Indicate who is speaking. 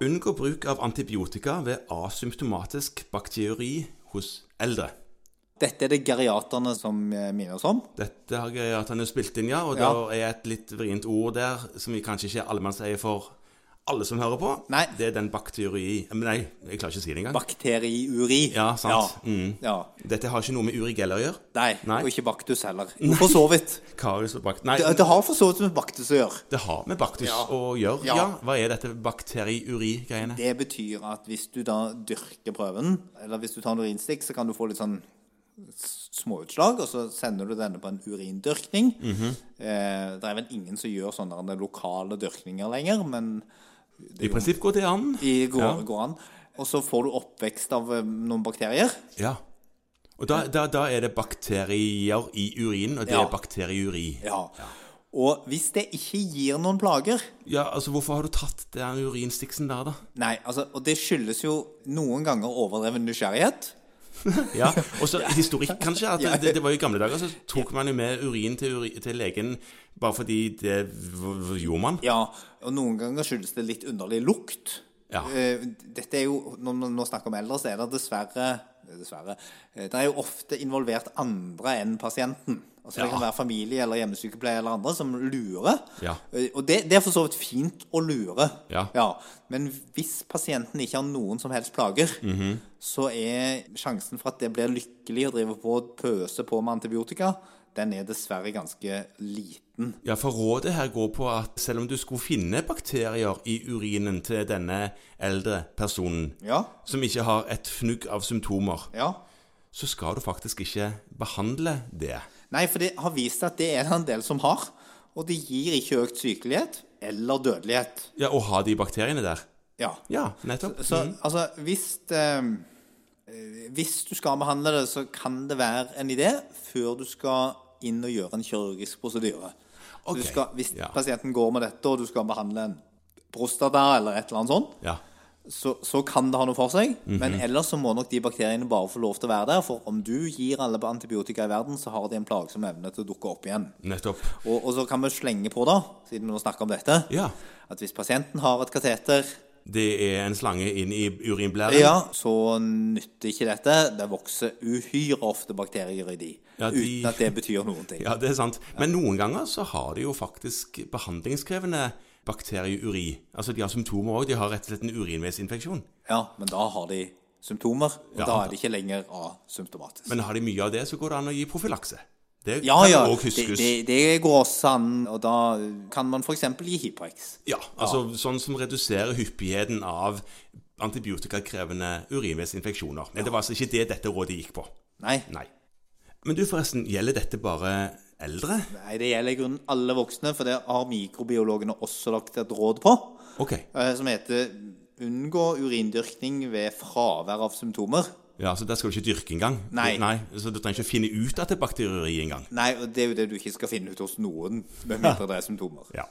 Speaker 1: Unngå bruk av antibiotika ved asymptomatisk bakteriuri hos eldre.
Speaker 2: Dette er det geriaterne som eh, minner oss om.
Speaker 1: Dette har geriaterne spilt inn, ja, og
Speaker 2: Ja.
Speaker 1: da er et litt vrient ord der som vi kanskje ikke allemannseie for alle som hører på.
Speaker 2: Nei.
Speaker 1: Det er den bakteriuri... Men Nei, jeg klarer ikke å si det engang.
Speaker 2: Bakteriuri.
Speaker 1: Ja, sant.
Speaker 2: Ja. ja.
Speaker 1: Dette har ikke noe med urigell å gjøre.
Speaker 2: Nei,
Speaker 1: Nei.
Speaker 2: og ikke baktus heller. Jo, for så vidt.
Speaker 1: Karies og bakt... Nei,
Speaker 2: Det, det har for så vidt med baktus å gjøre.
Speaker 1: det har med baktus
Speaker 2: Ja.
Speaker 1: å gjøre.
Speaker 2: Ja.
Speaker 1: Ja. Hva er dette bakteriuri-greiene?
Speaker 2: Det betyr at hvis du da dyrker prøven, eller hvis du tar en urinstikk, så kan du få litt sånn s- småutslag, og så sender du denne på en urindyrkning.
Speaker 1: Mhm.
Speaker 2: eh, det er vel ingen som gjør sånne lokale dyrkninger lenger, men
Speaker 1: I prinsipp går det an.
Speaker 2: i går,
Speaker 1: Ja.
Speaker 2: går an. Og så får du oppvekst av eh, noen bakterier.
Speaker 1: Ja. Og da, da, da er det bakterier i urinen, og det
Speaker 2: Ja.
Speaker 1: er bakteriuri.
Speaker 2: Ja. Og hvis det ikke gir noen plager
Speaker 1: Ja, altså hvorfor har du tatt den urinstiksen der, da?
Speaker 2: Nei, altså, og det skyldes jo noen ganger overdreven nysgjerrighet.
Speaker 1: Ja, Og så historikk, kanskje. At det- det, det var jo I gamle dager så tok man jo med urin til, uri, til legen bare fordi det v- v- gjorde man.
Speaker 2: Ja, og noen ganger skyldes det litt underlig lukt.
Speaker 1: Ja.
Speaker 2: Eh, Dette er jo, når man nå snakker om eldre, så er det dessverre, dessverre eh, Det er jo ofte involvert andre enn pasienten. Altså Det
Speaker 1: Ja.
Speaker 2: kan være familie eller hjemmesykepleie eller andre som lurer.
Speaker 1: Ja.
Speaker 2: Eh, Og det, det er for så vidt fint å lure.
Speaker 1: Ja.
Speaker 2: Men hvis pasienten ikke har noen som helst plager,
Speaker 1: Mhm.
Speaker 2: så er sjansen for at det blir lykkelig å drive på og pøse på med antibiotika, den er dessverre ganske liten.
Speaker 1: Ja, For rådet her går på at selv om du skulle finne bakterier i urinen til denne eldre personen,
Speaker 2: Ja.
Speaker 1: som ikke har et fnugg av symptomer,
Speaker 2: Ja.
Speaker 1: så skal du faktisk ikke behandle det.
Speaker 2: Nei, for det har vist seg at det er det en del som har. Og det gir ikke økt sykelighet eller dødelighet.
Speaker 1: Ja, Å ha de bakteriene der.
Speaker 2: Ja.
Speaker 1: Ja, nettopp. Mm.
Speaker 2: Så altså, hvis eh, eh, Hvis du skal behandle det, så kan det være en idé før du skal inn og gjøre en kirurgisk prosedyre. Så
Speaker 1: Ok,
Speaker 2: Du skal, hvis
Speaker 1: ja.
Speaker 2: pasienten går med dette, og du skal behandle en prostata eller et eller annet sånt,
Speaker 1: Ja.
Speaker 2: så, så kan det ha noe for seg.
Speaker 1: Mhm.
Speaker 2: Men ellers så må nok de bakteriene bare få lov til å være der. For om du gir alle antibiotika i verden, så har de en plagsom evne til å dukke opp igjen.
Speaker 1: Nettopp.
Speaker 2: Og, og så kan vi slenge på, da, siden vi nå snakker om dette,
Speaker 1: Ja.
Speaker 2: at hvis pasienten har et kateter,
Speaker 1: Det er en slange inn i urinblæren.
Speaker 2: ja, så nytter ikke dette. Det vokser uhyre ofte bakterier i de,
Speaker 1: Ja, de-
Speaker 2: uten at det betyr noen ting.
Speaker 1: Ja, det er sant. Men noen ganger så har de jo faktisk behandlingskrevende bakterieuri. Altså de har symptomer òg. De har rett og slett en urinveisinfeksjon.
Speaker 2: Ja, men da har de symptomer, og
Speaker 1: Ja.
Speaker 2: da er det ikke lenger asymptomatisk.
Speaker 1: Men har de mye av det, så går det an å gi profylakse. Det
Speaker 2: ja,
Speaker 1: kan
Speaker 2: ja,
Speaker 1: òg
Speaker 2: det,
Speaker 1: huskes.
Speaker 2: det, det går også an, og da kan man f.eks. gi Hyprex.
Speaker 1: Ja, altså sånn som reduserer hyppigheten av antibiotikakrevende urinveisinfeksjoner. Men det var altså ikke det dette rådet gikk på.
Speaker 2: Nei,
Speaker 1: Nei. Men du, forresten, gjelder dette bare eldre?
Speaker 2: nei, det gjelder i grunnen alle voksne, for det har mikrobiologene også lagt et råd på.
Speaker 1: Ok.
Speaker 2: eh, som heter 'Unngå urindyrkning ved fravær av symptomer'.
Speaker 1: Ja, så der skal du ikke dyrke engang?
Speaker 2: Nei.
Speaker 1: Nei. Så du trenger ikke finne ut at det er bakterieri engang?
Speaker 2: Nei, og det er jo det du ikke skal finne ut hos noen, med mindre det er symptomer.
Speaker 1: Ja.